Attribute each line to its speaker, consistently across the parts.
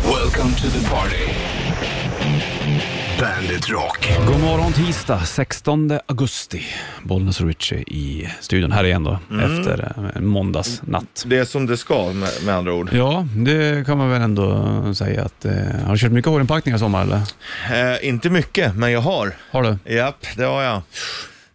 Speaker 1: Welcome to the party. Bandit Rock.
Speaker 2: God morgon tisdag 16 augusti. Bollnäs och Richie i studion här igen då efter eh, en måndagsnatt.
Speaker 3: Det är som det ska med, med andra ord.
Speaker 2: Ja, det kan man väl ändå säga att... Eh, har du kört mycket hårinpackningar i sommar eller?
Speaker 3: Eh, inte mycket, men jag har.
Speaker 2: Har du?
Speaker 3: Japp, det har jag.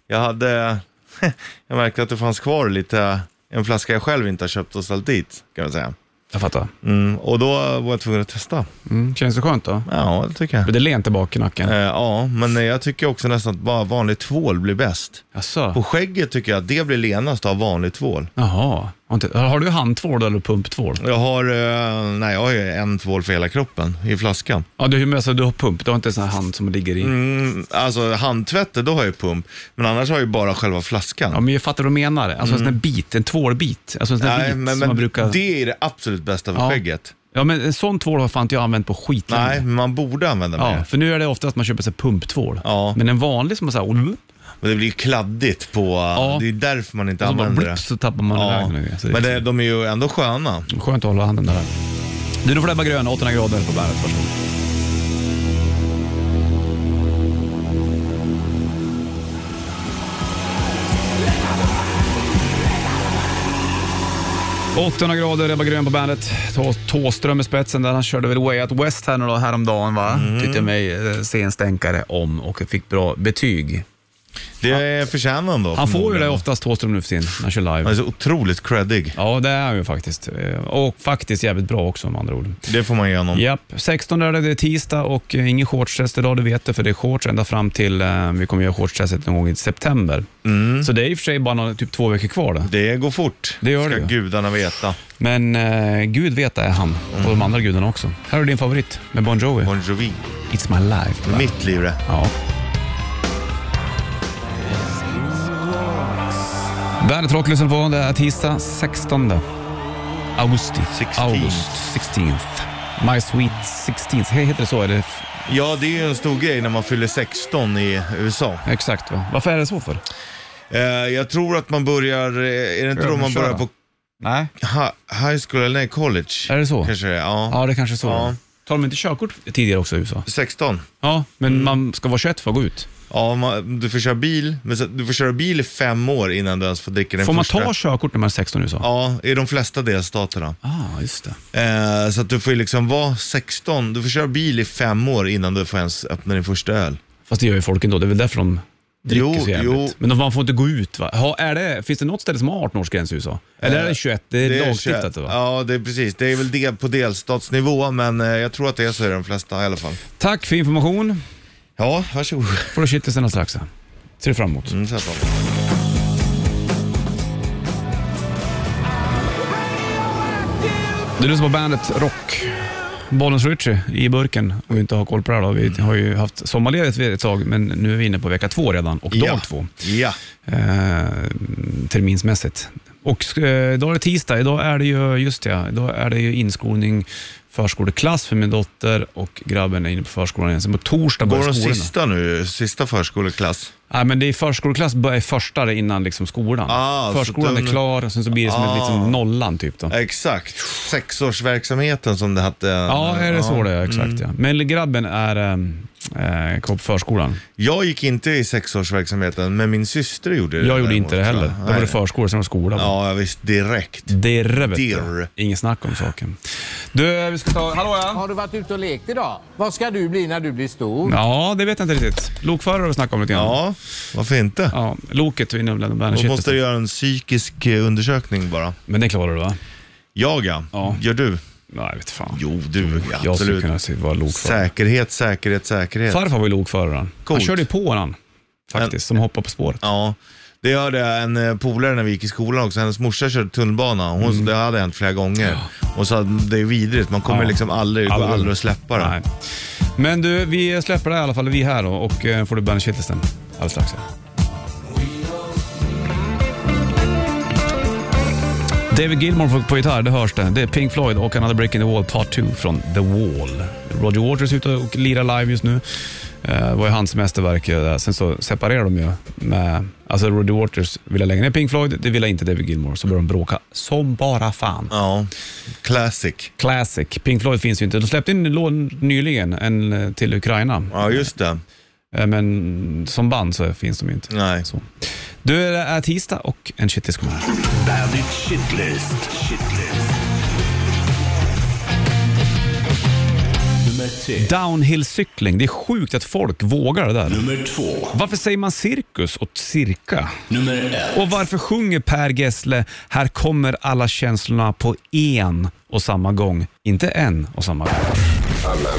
Speaker 3: Jag hade... Jag märkte att det fanns kvar lite... En flaska jag själv inte har köpt och ställt dit, kan man säga.
Speaker 2: Jag fattar.
Speaker 3: Mm, och då var jag tvungen att testa.
Speaker 2: Mm. Känns det skönt då?
Speaker 3: Ja, det tycker jag.
Speaker 2: Det är lent i bak i nacken.
Speaker 3: Eh, ja, men jag tycker också nästan att bara vanlig tvål blir bäst. På
Speaker 2: Jaså?
Speaker 3: skägget tycker jag att det blir lenast av vanlig tvål.
Speaker 2: Jaha. Har, inte, har du handtvål eller pumptvål?
Speaker 3: Jag har, eh, nej, jag har ju en tvål för hela kroppen i flaskan.
Speaker 2: Ja, du, men alltså, du har pump. Du har inte sån här hand som ligger i...
Speaker 3: Mm, alltså handtvättet, då har jag ju pump. Men annars har jag ju bara själva flaskan.
Speaker 2: Ja, men jag fattar vad du menar. Alltså en sån här bit, en tvålbit. Alltså en sån här
Speaker 3: Nej,
Speaker 2: bit
Speaker 3: men,
Speaker 2: som man
Speaker 3: men
Speaker 2: brukar...
Speaker 3: det är det absolut bästa för
Speaker 2: Ja.
Speaker 3: skägget.
Speaker 2: Ja, men en sån tvål har fan inte jag använt på skitlänge.
Speaker 3: Nej, men man borde använda
Speaker 2: Ja,
Speaker 3: mer.
Speaker 2: för nu är det ofta att man köper sig pumptvål.
Speaker 3: Ja.
Speaker 2: Men en vanlig som man såhär,
Speaker 3: Men det blir ju kladdigt på... Det är ju därför man inte
Speaker 2: så Alltså, bara
Speaker 3: använder det.
Speaker 2: blipp, så tappar man
Speaker 3: Ja.
Speaker 2: iväg den. här. Så
Speaker 3: Men
Speaker 2: det
Speaker 3: det, de är ju ändå sköna.
Speaker 2: är skönt att hålla handen där. Du, nu får det bara grön, 800 grader på bäret. Varsågod. ...800 grader, Ebba Grön på bandet. Tå- Tåström i spetsen där. Han körde väl Way Out West här nu då, häromdagen va?
Speaker 3: Mm.
Speaker 2: Tyckte jag mig eh, se en stänkare om och fick bra betyg.
Speaker 3: Det förtjänar de då.
Speaker 2: Han får ju det
Speaker 3: förmodligen. Alltså-
Speaker 2: oftast, Thåström nu för tiden, när han kör live.
Speaker 3: Mm. Han är så otroligt creddig.
Speaker 2: Ja, det är han ju faktiskt. Eh, Och faktiskt jävligt bra också med andra ord.
Speaker 3: Det får man ge honom.
Speaker 2: Japp, 16 är det, det är tisdag och eh, ingen shortstest idag, det vet du, för det är shorts ända fram till, eh, vi kommer göra shortstestet någon gång i september.
Speaker 3: Mm.
Speaker 2: Så det är i och för sig bara någon, typ två veckor kvar då.
Speaker 3: Det går fort.
Speaker 2: Det gör
Speaker 3: Ska
Speaker 2: det ju.
Speaker 3: gudarna veta.
Speaker 2: Men eh, gud veta är han, och de andra gudarna också. Här är din favorit med Bon Jovi,
Speaker 3: Bon Jovi.
Speaker 2: It's My Life. på bandet.
Speaker 3: Mitt liv det.
Speaker 2: Ja. Bandet Rock lyssnar på. Det är tisdag 16 augusti.
Speaker 3: 16th.
Speaker 2: August 16th. My Sweet 16th. He- Heter det så? Är det f-
Speaker 3: Ja, det är ju en stor grej när man fyller 16 i USA.
Speaker 2: exakt va? Varför är det så för?
Speaker 3: Eh, jag tror att man börjar... eh, Är det inte
Speaker 2: Ja,
Speaker 3: då
Speaker 2: men
Speaker 3: man
Speaker 2: kör
Speaker 3: börjar
Speaker 2: då.
Speaker 3: på
Speaker 2: Nej.
Speaker 3: ha, high school eller nej, college?
Speaker 2: Är det så?
Speaker 3: Kanske det är, ja.
Speaker 2: Ja, det är kanske är så.
Speaker 3: Ja.
Speaker 2: Tar de inte körkort tidigare också i USA?
Speaker 3: 16.
Speaker 2: Ja, men
Speaker 3: Mm.
Speaker 2: man ska vara 21 för att gå ut.
Speaker 3: Ja, man, du får köra bil, men så, du får köra bil i fem år innan du ens får dricka den
Speaker 2: Får man
Speaker 3: första.
Speaker 2: ta körkort när man är 16 i USA?
Speaker 3: Ja, i de flesta delstaterna.
Speaker 2: Ah, just det.
Speaker 3: Eh, så att du får ju liksom vara 16, du får köra bil i fem år innan du får ens öppna din första öl.
Speaker 2: Fast det gör ju folk ändå. Det är väl därför de dricker
Speaker 3: Jo,
Speaker 2: så jävligt.
Speaker 3: jo.
Speaker 2: Men de, man får inte gå ut va? Ha, är det, finns det något ställe som har 18-årsgräns i USA? Eller
Speaker 3: Eh,
Speaker 2: är det 21? Det är, lagstiftat
Speaker 3: 21.
Speaker 2: va?
Speaker 3: Ja, det är precis. Det är väl det på delstatsnivå, men eh, jag tror att det är så i de flesta i alla fall.
Speaker 2: Tack för information.
Speaker 3: Ja, varsågod.
Speaker 2: Får du shitlisten alldeles strax. Ser du fram emot.
Speaker 3: Mm, så här tar vi.
Speaker 2: Du lyssnar på bandet Rock. Bollens Ritchie i burken, om vi inte har koll på det här då. Vi har ju haft sommarledigt ett tag, men nu är vi inne på vecka två redan och dag
Speaker 3: ja.
Speaker 2: två.
Speaker 3: Ja.
Speaker 2: eh, terminsmässigt. Och eh, idag är det tisdag. Idag är det ju, just det, idag är det ju inskolning förskoleklass för min dotter och grabben är inne på förskolan igen. Sen på torsdag
Speaker 3: Går
Speaker 2: börjar
Speaker 3: de
Speaker 2: skolorna.
Speaker 3: sista nu, sista förskoleklass?
Speaker 2: Nej, men det är förskoleklass börjar första det innan liksom skolan.
Speaker 3: Ah, så
Speaker 2: Förskolan
Speaker 3: den- Ah.
Speaker 2: är klar och sen så blir det som ett, liksom nollan typ då.
Speaker 3: Exakt, sexårsverksamheten som det hette.
Speaker 2: Ja, är det så det är? Exakt ja.
Speaker 3: Mm.
Speaker 2: Men grabben är eh, eh, på förskolan.
Speaker 3: Jag gick inte i sexårsverksamheten, men min syster gjorde det.
Speaker 2: Jag gjorde
Speaker 3: däremot,
Speaker 2: inte det
Speaker 3: tror jag.
Speaker 2: heller. Då var
Speaker 3: Nej.
Speaker 2: det förskola, sen var det skola.
Speaker 3: Ja, visst. Direkt.
Speaker 2: Det är det, vet du.
Speaker 3: Dirr.
Speaker 2: Inget snack om saken. Du, vi ska ta... Hallå ja!
Speaker 4: Har du varit ute och lekt idag? Vad ska du bli när du blir stor?
Speaker 2: Ja, det vet jag inte riktigt. Lokförare har vi snackat om lite grann.
Speaker 3: Ja, varför inte?
Speaker 2: Ja, loket är inne bland
Speaker 3: Då måste du
Speaker 2: bandet.
Speaker 3: göra en psykisk eh, undersökning bara.
Speaker 2: Men det klarar du va?
Speaker 3: Jag ja.
Speaker 2: Ja.
Speaker 3: Gör du?
Speaker 2: Nej, vet fan.
Speaker 3: Jo, du.
Speaker 2: jag skulle
Speaker 3: Absolut.
Speaker 2: kunna se- vara lokförare.
Speaker 3: Säkerhet, säkerhet, säkerhet.
Speaker 2: Farfar var ju lokförare. han. Han
Speaker 3: Coolt.
Speaker 2: körde ju på han, faktiskt,
Speaker 3: Men-
Speaker 2: som hoppade på spåret.
Speaker 3: Ja. Det hörde jag en eh, polare när vi gick i skolan också. Hennes morsa körde tunnelbana. Hon,
Speaker 2: Mm.
Speaker 3: Det hade hänt flera gånger. Och så hade- det är vidrigt. Man kommer
Speaker 2: Ja.
Speaker 3: liksom aldrig, det går
Speaker 2: Aldrig.
Speaker 3: aldrig att släppa det.
Speaker 2: Nej. Men du, vi släpper det här i alla fall. Vi är här då och eh, får du Bandet Shitlisten alldeles strax. här. David Gilmore på- på gitarr, det hörs det. Det är Pink Floyd och Another Brick in the Wall Part 2 från The Wall. Roger Waters är ute och lirar live just nu. Eh, Eh, Det var ju hans mästerverk. eh, där. Sen så separerade de ju. Med, alltså Roddy Waters ville lägga ner Pink Floyd, det ville inte David Gilmore. Så började de bråka som bara fan.
Speaker 3: Ja, classic.
Speaker 2: Classic. Pink Floyd finns ju inte. De släppte in en låt nyligen, en eh, till Ukraina.
Speaker 3: Ja, just det.
Speaker 2: Eh, Men som band så finns de ju inte.
Speaker 3: Nej.
Speaker 2: Så. Du, eh, det är tisdag och en shitlist kommer här.
Speaker 1: Bandit Shitlist. Shitlist. Nummer tre.
Speaker 2: Downhillcykling. Det är sjukt att folk vågar det där.
Speaker 1: Nummer två.
Speaker 2: Varför säger man cirkus och cirka?
Speaker 1: Nummer ett.
Speaker 2: Och varför sjunger Per Gessle “Här kommer alla känslorna på en och samma gång”? Inte en och samma gång.
Speaker 1: Bandit.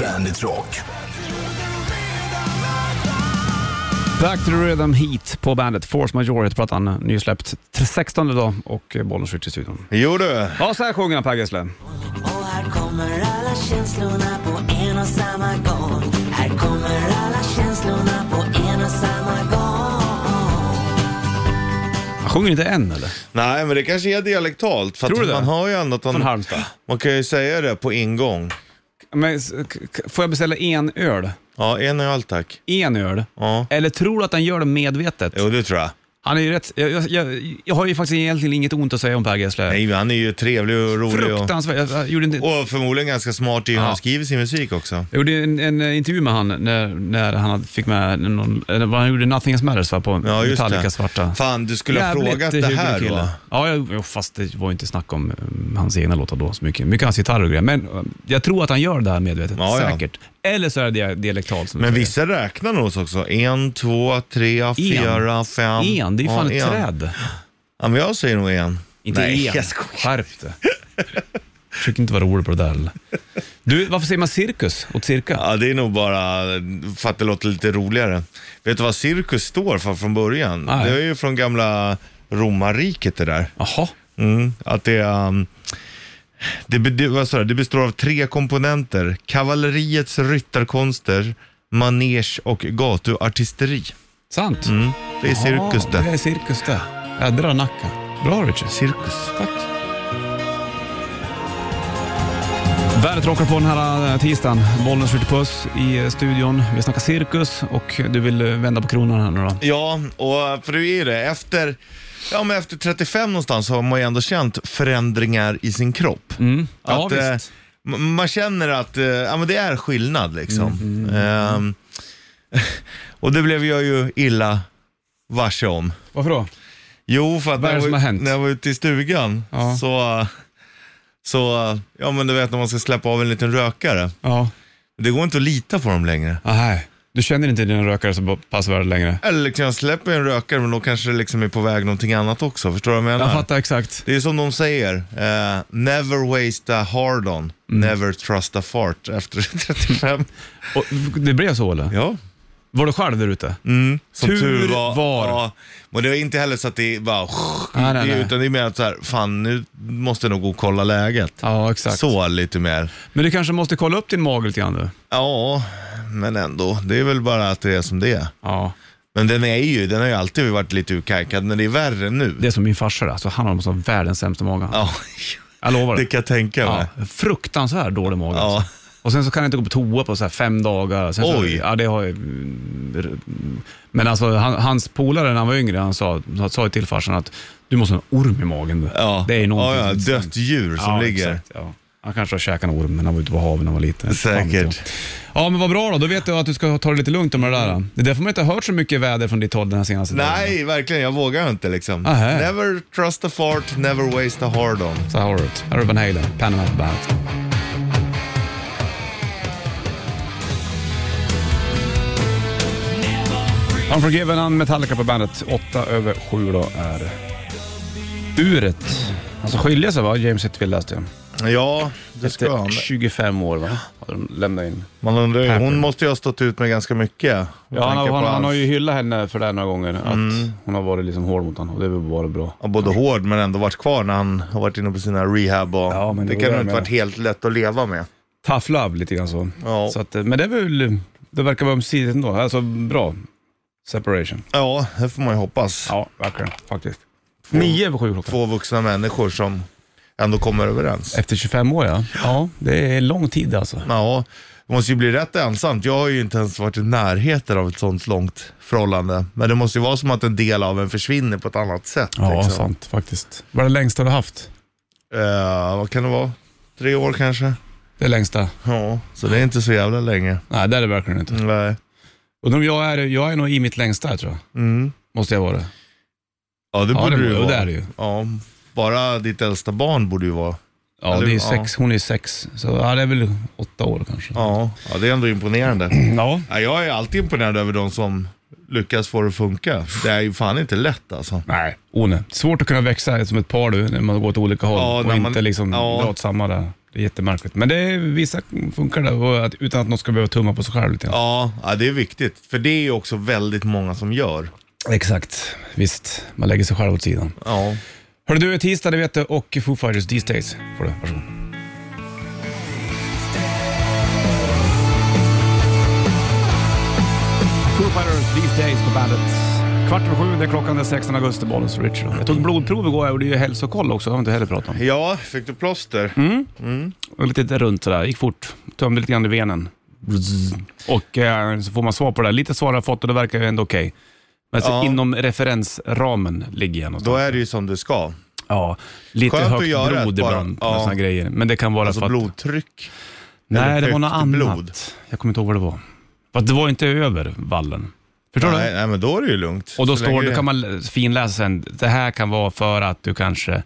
Speaker 1: Bandit Rock.
Speaker 2: Back to the rhythm heat på bandet. Force Majeure heter plattan, nysläppt 16 idag och bollen skjuts i studion.
Speaker 3: Jo du,
Speaker 2: Ja, så här sjunger han Per Gessle.
Speaker 5: Och här kommer alla känslorna på en och samma gång Här kommer alla känslorna på en och samma gång
Speaker 2: Han sjunger inte en eller?
Speaker 3: nej men det kanske är dialektalt. För
Speaker 2: Tror du
Speaker 3: att
Speaker 2: det?
Speaker 3: man har ju ändå att
Speaker 2: Från
Speaker 3: man,
Speaker 2: Halmstad.
Speaker 3: man kan ju säga det på ingång.
Speaker 2: Men, s- k- k- får jag beställa en öl?
Speaker 3: Ja, en öl tack.
Speaker 2: En öl?
Speaker 3: Ja.
Speaker 2: Eller tror du att han gör det medvetet?
Speaker 3: Jo, det tror jag.
Speaker 2: Han är ju rätt... Jag, jag, jag, jag har ju faktiskt egentligen inget ont att säga om Per Gessle.
Speaker 3: Nej, men han är ju trevlig och rolig och,
Speaker 2: Fruktansvärt. Jag, jag gjorde inte...
Speaker 3: och förmodligen ganska smart i hur
Speaker 2: Ja.
Speaker 3: han skriver sin musik också.
Speaker 2: Jag gjorde en, en eh, intervju med han när, när han hade- fick med någon, eller vad han gjorde Nothing Else Matters va, på
Speaker 3: Ja, just
Speaker 2: Metallica
Speaker 3: det.
Speaker 2: svarta.
Speaker 3: Fan, du skulle ha
Speaker 2: Jävligt
Speaker 3: frågat det
Speaker 2: hygglig
Speaker 3: här
Speaker 2: kille.
Speaker 3: då.
Speaker 2: Ja, jag- jo, fast det var ju inte snack om mm, hans egna låtar då så mycket. Mycket hans gitarr och grejer. Men eh, jag tror att han gör det här medvetet,
Speaker 3: Ja, ja.
Speaker 2: säkert. Eller så är det dia- dialektalt som du
Speaker 3: Men
Speaker 2: säger.
Speaker 3: vissa räknar nog så också. En, två, tre, fyra, fem.
Speaker 2: En, det är ju
Speaker 3: Ja,
Speaker 2: fan ett
Speaker 3: en.
Speaker 2: träd.
Speaker 3: Ja, men jag säger nog en.
Speaker 2: Inte
Speaker 3: Nej,
Speaker 2: en.
Speaker 3: jag skojar.
Speaker 2: Skärp dig. Försök inte vara rolig på det där. eller? Du, varför säger man cirkus åt cirka?
Speaker 3: Ja, det är nog bara för att det låter lite roligare. Vet du vad cirkus står för från början?
Speaker 2: Nej.
Speaker 3: Det är ju från gamla romarriket det där.
Speaker 2: Jaha.
Speaker 3: Mm, att det, um, det, be- det, vad sa jag, det består av tre komponenter. Kavalleriets ryttarkonster, manege och gatuartisteri.
Speaker 2: Sant?
Speaker 3: Mm. Det är cirkus
Speaker 2: Ja, Det
Speaker 3: det.
Speaker 2: är cirkus det. Jädra nacka. Bra Richard.
Speaker 3: Cirkus.
Speaker 2: Tack. Värdet rockar på den här eh, tisdagen. Bollnäs skjuter puss i eh, studion. Vi snackar cirkus och du vill eh, vända på kronan här nu då.
Speaker 3: Ja, och för det är ju det. Efter, ja, men efter 35 någonstans har man ju ändå känt förändringar i sin kropp.
Speaker 2: Mm. Ja,
Speaker 3: att, eh,
Speaker 2: visst.
Speaker 3: m- man känner att eh, ja, men det är skillnad liksom.
Speaker 2: Mm-hmm.
Speaker 3: Ehm, och det blev jag ju illa varse om.
Speaker 2: Varför då?
Speaker 3: Jo, för att
Speaker 2: Vad
Speaker 3: när
Speaker 2: är det
Speaker 3: jag,
Speaker 2: som
Speaker 3: var,
Speaker 2: har hänt?
Speaker 3: när jag var ute i stugan
Speaker 2: Ja.
Speaker 3: så, så, ja men du vet när man ska släppa av en liten rökare.
Speaker 2: Ja.
Speaker 3: Det går inte att lita på dem längre.
Speaker 2: Aha. Ah, Du känner inte dina rökare så pass väl längre?
Speaker 3: Eller kan jag släppa en rökare men då kanske det liksom är på väg någonting annat också. Förstår du vad jag menar?
Speaker 2: Jag fattar exakt.
Speaker 3: Det är som de säger, eh, never waste a hard on,
Speaker 2: Mm.
Speaker 3: never trust a fart efter 35.
Speaker 2: Och det blev så eller?
Speaker 3: ja. Mm.
Speaker 2: Var du själv där ute?
Speaker 3: Som
Speaker 2: Tur
Speaker 3: tur, var.
Speaker 2: var.
Speaker 3: Ja, men det är inte heller så att det är bara...
Speaker 2: Nej, nej, nej.
Speaker 3: Utan det är mer att så här, fan nu måste jag nog gå och kolla läget.
Speaker 2: Ja, exakt.
Speaker 3: Så lite mer.
Speaker 2: Men du kanske måste kolla upp din mage lite grann du?
Speaker 3: Ja, men ändå. Det är väl bara att det är som det är.
Speaker 2: Ja.
Speaker 3: Men den är ju, den har ju alltid varit lite urkalkad, men det är värre nu.
Speaker 2: Det är som min farsa där, så han har måste ha världens sämsta mage.
Speaker 3: Ja,
Speaker 2: Jag lovar.
Speaker 3: det kan jag tänka mig.
Speaker 2: Ja, fruktansvärt dålig mage.
Speaker 3: Ja.
Speaker 2: Alltså. Och sen så kan jag inte gå på toa på så här fem dagar. Sen Så,
Speaker 3: Oj.
Speaker 2: ja, det har jag, mm, men alltså han, hans polare när han var yngre, han sa, han sa ju till farsan att du måste ha en orm i magen. du.
Speaker 3: Ja.
Speaker 2: Det är någonting
Speaker 3: ja, ja,
Speaker 2: som-
Speaker 3: dött djur som
Speaker 2: Ja,
Speaker 3: ligger.
Speaker 2: Exakt, ja. Han kanske har käkat en orm när han var ute på haven när han var liten.
Speaker 3: Säkert.
Speaker 2: Fan vet jag. Ja, men vad bra då. Då vet jag att du ska ta det lite lugnt om det där. Det är därför man inte har hört så mycket väder från ditt håll den här senaste dagen.
Speaker 3: Mm. Nej, verkligen. Jag vågar inte liksom.
Speaker 2: Aha.
Speaker 3: Never trust a fart, never waste a hard on.
Speaker 2: Så här har du det. Här har du Van Halen, Panama på bandet. Unforgiven, han Metallica på bandet. Åtta över sju då är uret. Han ska skilja sig va, James Hetfield läste jag.
Speaker 3: Ja, det ska
Speaker 2: Efter
Speaker 3: han.
Speaker 2: 25 år va, har de lämnat in.
Speaker 3: Man undrar ju,
Speaker 2: Pepper.
Speaker 3: hon måste ju ha stått ut med ganska mycket. med
Speaker 2: Ja, han, har,
Speaker 3: tanke på
Speaker 2: han, han
Speaker 3: hans-
Speaker 2: har ju hyllat henne för det här några gånger. Att hon har varit liksom hård mot honom och det är väl bara bra.
Speaker 3: ja, Både hård men ändå varit kvar när han har varit inne på sina rehab och
Speaker 2: Ja, men det
Speaker 3: det,
Speaker 2: var
Speaker 3: kan
Speaker 2: det
Speaker 3: nog
Speaker 2: jag
Speaker 3: inte varit helt lätt att leva med.
Speaker 2: Tough love lite grann så.
Speaker 3: Ja.
Speaker 2: så att, eh, men det är väl, det verkar vara ömsesidigt ändå. Alltså bra. Separation.
Speaker 3: Ja, det får man ju hoppas.
Speaker 2: Ja, verkligen. Faktiskt. Nio över sju klockan.
Speaker 3: Två vuxna människor som ändå kommer överens.
Speaker 2: Efter 25 år ja. Ja, det är lång tid alltså.
Speaker 3: Ja, Det måste ju bli rätt ensamt. Jag har ju inte ens varit i närheten av ett sånt långt förhållande. Men det måste ju vara som att en del av en försvinner på ett annat sätt.
Speaker 2: Ja,
Speaker 3: liksom.
Speaker 2: sant faktiskt. Vad är det längsta du har haft?
Speaker 3: Eh, vad kan det vara? Tre år kanske?
Speaker 2: Det längsta?
Speaker 3: Ja, så det är inte så jävla länge.
Speaker 2: Nej, det är det verkligen inte.
Speaker 3: Nej.
Speaker 2: Undrar om jag är, jag är nog i mitt längsta här, tror jag. Måste jag vara det?
Speaker 3: Ja, det
Speaker 2: Ja,
Speaker 3: borde
Speaker 2: det
Speaker 3: du ju
Speaker 2: Mm. borde-
Speaker 3: vara.
Speaker 2: det är det ju.
Speaker 3: Ja, bara ditt äldsta barn borde ju vara.
Speaker 2: Ja,
Speaker 3: Eller-
Speaker 2: det är
Speaker 3: ja.
Speaker 2: sex, hon är sex, så ja, det är väl åtta år kanske.
Speaker 3: Ja, ja det är ändå imponerande.
Speaker 2: Ja.
Speaker 3: Ja, jag är alltid imponerad över de som lyckas få det att funka. Det är ju fan inte lätt alltså.
Speaker 2: Nej, one. Svårt att kunna växa som ett par du, när man går åt olika håll
Speaker 3: Ja,
Speaker 2: och
Speaker 3: när man-
Speaker 2: inte liksom
Speaker 3: ja.
Speaker 2: dra åt samma där. Det är jättemärkligt. Men det är, vissa funkar det, och att, utan att någon ska behöva tumma på sig själv lite grann.
Speaker 3: Ja, ja, det är viktigt. För det är ju också väldigt många som gör.
Speaker 2: Exakt, visst. Man lägger sig själv åt sidan.
Speaker 3: Ja.
Speaker 2: Hörru du, tisdag det vet du och Foo Fighters These Days får du. Varsågod. Foo Fighters These Days på bandet. Kvart över sju, det är klockan den 16 augusti, Bollens Richard. Jag tog blodprov igår, jag gjorde ju hälsokoll också, det har vi inte heller pratat om.
Speaker 3: ja, fick du plåster?
Speaker 2: Mm. Och lite där runt sådär, gick fort. Tömde lite grann i venen. Bzz. Och eh, så får man svar på det. där. Lite svar har jag fått och det verkar ju ändå okej. Men så
Speaker 3: Ja.
Speaker 2: inom referensramen ligger jag
Speaker 3: Då
Speaker 2: någonstans.
Speaker 3: är det ju som det ska.
Speaker 2: Ja, lite
Speaker 3: Skönt att
Speaker 2: högt
Speaker 3: göra
Speaker 2: blod
Speaker 3: ett bara.
Speaker 2: ibland.
Speaker 3: Ja.
Speaker 2: Ja. Såna grejer. Men det kan vara för
Speaker 3: Alltså
Speaker 2: att...
Speaker 3: blodtryck.
Speaker 2: nej,
Speaker 3: eller
Speaker 2: det var något
Speaker 3: högt
Speaker 2: annat.
Speaker 3: blod.
Speaker 2: Jag kommer inte ihåg vad det var. För att det var inte över vallen. Förstår
Speaker 3: Nej,
Speaker 2: du?
Speaker 3: nej, men då är det ju lugnt.
Speaker 2: Och då,
Speaker 3: Så
Speaker 2: står,
Speaker 3: länge
Speaker 2: då
Speaker 3: det-
Speaker 2: kan man l- finläsa sen. Det här kan vara för att du kanske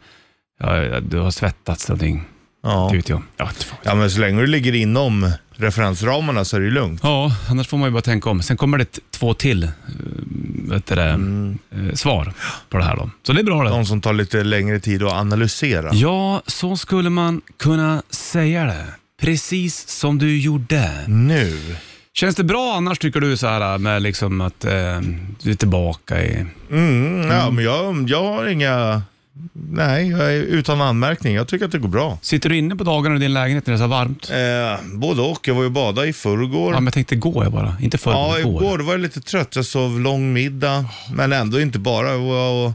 Speaker 2: ja, du har svettats någonting.
Speaker 3: Ja.
Speaker 2: Det vet jag. Ja, inte fan.
Speaker 3: ja, men så länge du ligger inom referensramarna så är det ju lugnt.
Speaker 2: Ja, annars får man ju bara tänka om. Sen kommer det t- två till eh, vet du det,
Speaker 3: Mm.
Speaker 2: eh, svar på det här. Då. Så det är bra det.
Speaker 3: De som tar lite längre tid att analysera.
Speaker 2: Ja, så skulle man kunna säga det. Precis som du gjorde.
Speaker 3: Mm. Nu.
Speaker 2: Känns det bra annars tycker du så här med liksom att eh, du är tillbaka i...
Speaker 3: Mm, ja, men jag, jag har inga... Nej, jag är utan anmärkning. Jag tycker att det går bra.
Speaker 2: Sitter du inne på dagarna i din lägenhet när det är så här varmt?
Speaker 3: Eh, både och. Jag var ju och badade i förrgår.
Speaker 2: Ja, men jag tänkte gå jag bara. Inte förr,
Speaker 3: Ja,
Speaker 2: men igår.
Speaker 3: igår var jag lite trött. Jag sov lång middag, men ändå inte bara. Jag var och,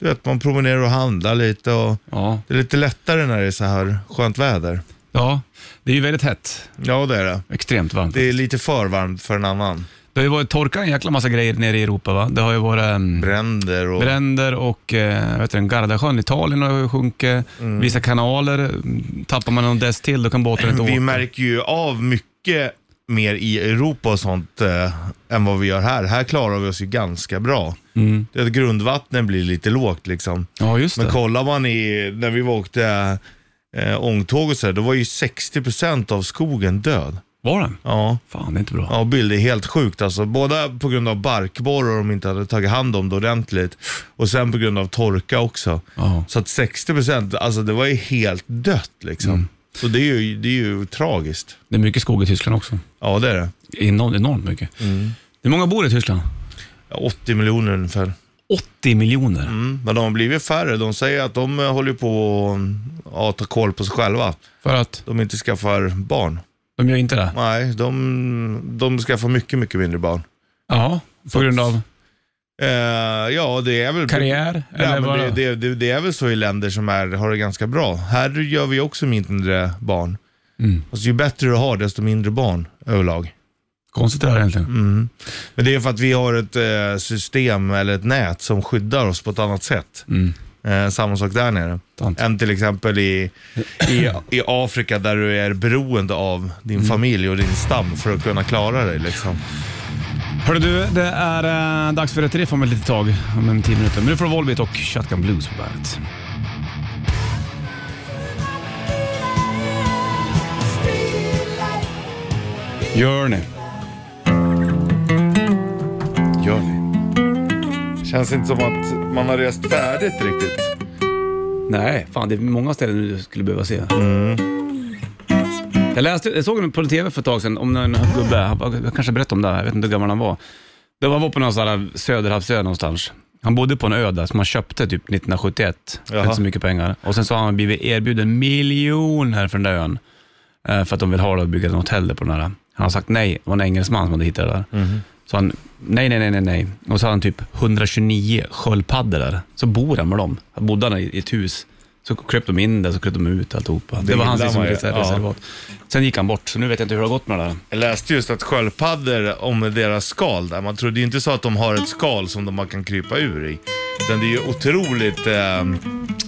Speaker 3: du vet, man promenerar och handlar lite. Och
Speaker 2: Ja.
Speaker 3: det är lite lättare när det är så här skönt väder.
Speaker 2: ja, det är ju väldigt hett.
Speaker 3: Ja, det är det.
Speaker 2: Extremt varmt.
Speaker 3: Det är lite för varmt för en annan.
Speaker 2: Det har ju varit torka en jäkla massa grejer nere i Europa va? Det har ju varit... ehm,
Speaker 3: Bränder och...
Speaker 2: Bränder och eh, vet du, den Gardasjön i Italien har ju sjunkit. Vissa kanaler, mm, tappar man någon dess till då kan båten inte åka.
Speaker 3: Vi märker ju av mycket mer i Europa och sånt eh, än vad vi gör här. Här klarar vi oss ju ganska bra. Mm. Det är att grundvattnet blir lite lågt liksom.
Speaker 2: Ja, just
Speaker 3: Men
Speaker 2: det.
Speaker 3: kollar man i, när vi åkte eh, ångtåg och sådär, då var ju 60% av skogen död.
Speaker 2: Var den?
Speaker 3: Ja.
Speaker 2: Fan, det är inte bra.
Speaker 3: Ja, Bill, det är helt sjukt alltså. Både på grund av barkborrar de inte hade tagit hand om det ordentligt och sen på grund av torka också.
Speaker 2: Ja.
Speaker 3: Så att 60%, alltså det var ju helt dött liksom. Så det är, ju, det är ju tragiskt.
Speaker 2: Det är mycket skog i Tyskland också.
Speaker 3: Ja, det är det.
Speaker 2: Enormt, enormt mycket.
Speaker 3: Mm.
Speaker 2: Hur många bor i Tyskland?
Speaker 3: 80 miljoner ungefär.
Speaker 2: 80 miljoner.
Speaker 3: Mm. Men de har blivit färre. De säger att de eh, håller på att ja, ta koll på sig själva.
Speaker 2: För att
Speaker 3: De inte skaffar barn.
Speaker 2: de gör inte det?
Speaker 3: Nej, de, de skaffar mycket, mycket mindre barn.
Speaker 2: Ja, på grund av
Speaker 3: Eh, ja, det är väl...
Speaker 2: karriär?
Speaker 3: Ja,
Speaker 2: eller
Speaker 3: men
Speaker 2: vad?
Speaker 3: det, det, det, det är väl så i länder som är, har det ganska bra. Här gör vi också mindre barn.
Speaker 2: Mm.
Speaker 3: Alltså, ju bättre du har, desto mindre barn överlag.
Speaker 2: Konstigt det här egentligen.
Speaker 3: Mm. Men det är för att vi har ett eh, system eller ett nät som skyddar oss på ett annat sätt.
Speaker 2: Mm.
Speaker 3: Eh, samma sak där nere.
Speaker 2: Sant.
Speaker 3: Än till exempel i, i, i Afrika där du är beroende av din
Speaker 2: Mm.
Speaker 3: familj och din stam för att kunna klara dig. Liksom.
Speaker 2: Hörru du, det är eh, dags för ett riff om ett litet tag. Om en tio minuter. Men nu får du Volbeat och Shotgun Blues på bandet. Gör ni. Gör ni.
Speaker 3: Känns inte som att man har rest färdigt riktigt.
Speaker 2: Nej, fan det är många ställen du skulle behöva se. Jag, läste, jag såg honom på tv för ett tag sedan om en gubbe, han var- jag kanske berättade om det här, jag vet inte hur gammal han var. Det var, var på någon sån här söderhavsö någonstans. Han bodde på en ö där som han köpte typ 1971, för
Speaker 3: Jaha.
Speaker 2: inte så mycket pengar. Och sen så har han blivit erbjuden miljoner för den där ön. eh, För att de vill ha det och bygga ett hotell där på den här. Han har sagt nej, det var en engelsman som hade hittat det där.
Speaker 3: Mhm.
Speaker 2: Så han, nej, nej, nej, nej, nej. Och så har han typ 129 sköldpaddor där. Så bor han med dem. Han bodde han i i ett hus Så kröp de in där, så kröp de ut alltihopa. Det, det var hans
Speaker 3: gillar
Speaker 2: liksom,
Speaker 3: man ju.
Speaker 2: res-
Speaker 3: Ja.
Speaker 2: reservat. Sen gick han bort, så nu vet jag inte hur det har gått med det där.
Speaker 3: Jag läste just att sköldpaddor, om deras skal där, man trodde ju inte så att de har ett skal som de bara kan krypa ur i. Utan det är ju otroligt eh,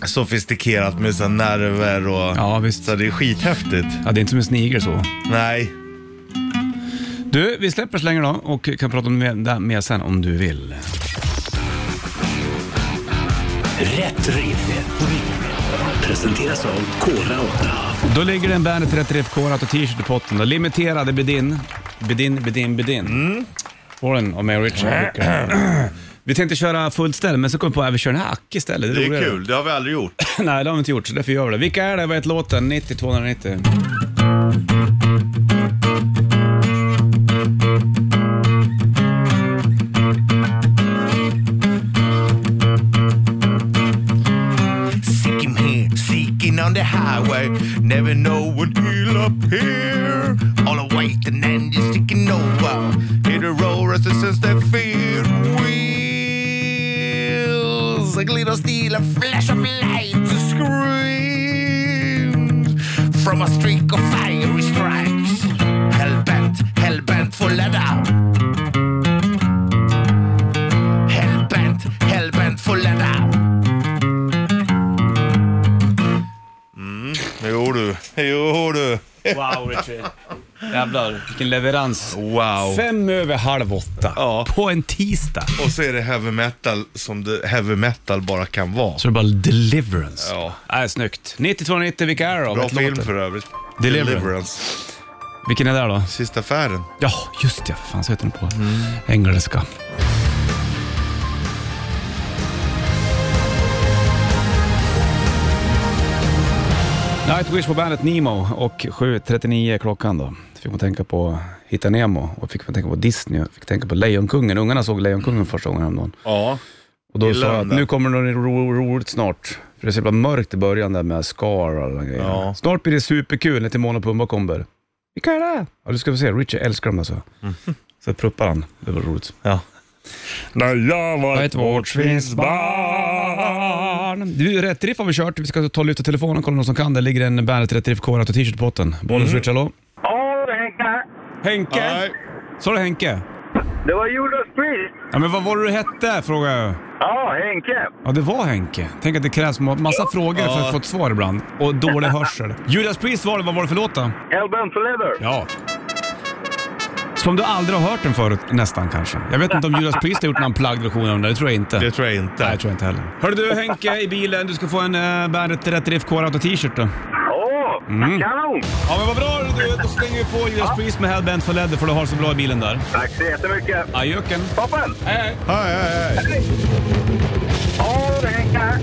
Speaker 3: sofistikerat med så här nerver och...
Speaker 2: Ja, visst.
Speaker 3: Så det är skithäftigt.
Speaker 2: Ja, det är inte som en snigel så.
Speaker 3: Nej.
Speaker 2: Du, vi släpper så länge då och kan prata om det där mer sen om du vill.
Speaker 1: Rätt riff. Presenteras av Kora 8.
Speaker 2: Då ligger det en Bandet 30 FK och t-shirt i potten. Då. Limiterad, det blir din. Blir din, blir din, blir din.
Speaker 3: Mm.
Speaker 2: Får den av mig och Richard. Vi tänkte köra fullt ställ, men så kom vi på att vi kör en hack istället.
Speaker 3: Det är
Speaker 2: roligare.
Speaker 3: kul, det har vi aldrig gjort.
Speaker 2: Nej, det har vi inte gjort, så därför gör vi det. Vilka är det? Vad heter låten? 90 290.
Speaker 3: Seek him here, seeking on the highway. Never know when he'll appear. All the waiting and you're sticking over. Hear the roar as it sends their fear. Wheels, a glitter steel, a flash of light, a screams from a streak of fiery strikes. Hellbent, hellbent for leather. Hellbent, hellbent for leather. Jo du, jo du.
Speaker 2: Wow, Richard. Jävlar, vilken leverans.
Speaker 3: Wow.
Speaker 2: Fem över halv åtta
Speaker 3: Ja.
Speaker 2: på en tisdag.
Speaker 3: Och så är det heavy metal som det heavy metal bara kan vara.
Speaker 2: Så det är bara deliverance.
Speaker 3: Ja.
Speaker 2: Nej, snyggt. 90 290, vilka är det då?
Speaker 3: Bra
Speaker 2: Vad heter
Speaker 3: film
Speaker 2: låten?
Speaker 3: för övrigt.
Speaker 2: Deliverance. Vilken är det då?
Speaker 3: Sista affären.
Speaker 2: Ja, just det. För fan, så heter den på engelska. Nightwish på bandet Nemo och 7.39 är klockan då. Fick man tänka på Hitta Nemo och fick man tänka på Disney och fick tänka på Lejonkungen. Ungarna såg Lejonkungen första gången häromdagen.
Speaker 3: Ja.
Speaker 2: Och då
Speaker 3: Gillar
Speaker 2: sa jag
Speaker 3: de
Speaker 2: att
Speaker 3: det?
Speaker 2: nu kommer det något ro- roligt snart. För det är så jävla mörkt i början där med Scar och alla de grejerna.
Speaker 3: Ja.
Speaker 2: Snart blir det superkul när Timon och Pumba kommer. Vilka är det? Ja, du ska få se. Richie älskar dem alltså. Så pruppar han. Det var roligt.
Speaker 3: ja. När jag var ett
Speaker 2: Du, Rätt Riff har vi kört. Vi ska ta luta telefonen och kolla någon som kan. Det ligger en Bandet Rätt Riff k och t-shirt i potten. Bollens Richie, hallå?
Speaker 6: Ja, det Henke.
Speaker 2: Henke!
Speaker 3: Nej.
Speaker 2: Sa du Henke?
Speaker 6: Det var Judas Priest.
Speaker 2: Ja, men vad var det du hette, frågade jag.
Speaker 6: Ja, Henke.
Speaker 2: Ja, det var Henke. Tänk att det krävs ma- massa frågor för att få ett svar ibland. Och dålig hörsel. Judas Priest var det. Vad var det för låt då?
Speaker 6: Hellbent for Leather.
Speaker 2: Ja. Som du aldrig har hört den förut, nästan kanske. Jag vet inte om Judas Priest har gjort en unplugged version av den, det tror jag inte.
Speaker 3: Det tror jag inte.
Speaker 2: Nej, jag tror jag inte heller. Hör du Henke i bilen, du ska få en uh, Bandet Rätt Riff k t-shirt då.
Speaker 6: Åh, kanon!
Speaker 2: Ja men vad bra du, då slänger vi på Judas Priest med Hellbent for Leather för du har så bra i bilen där.
Speaker 6: Tack så jättemycket.
Speaker 2: Ajöken.
Speaker 6: Toppen!
Speaker 3: Hej, hej, hej.
Speaker 6: Ja, det Henke.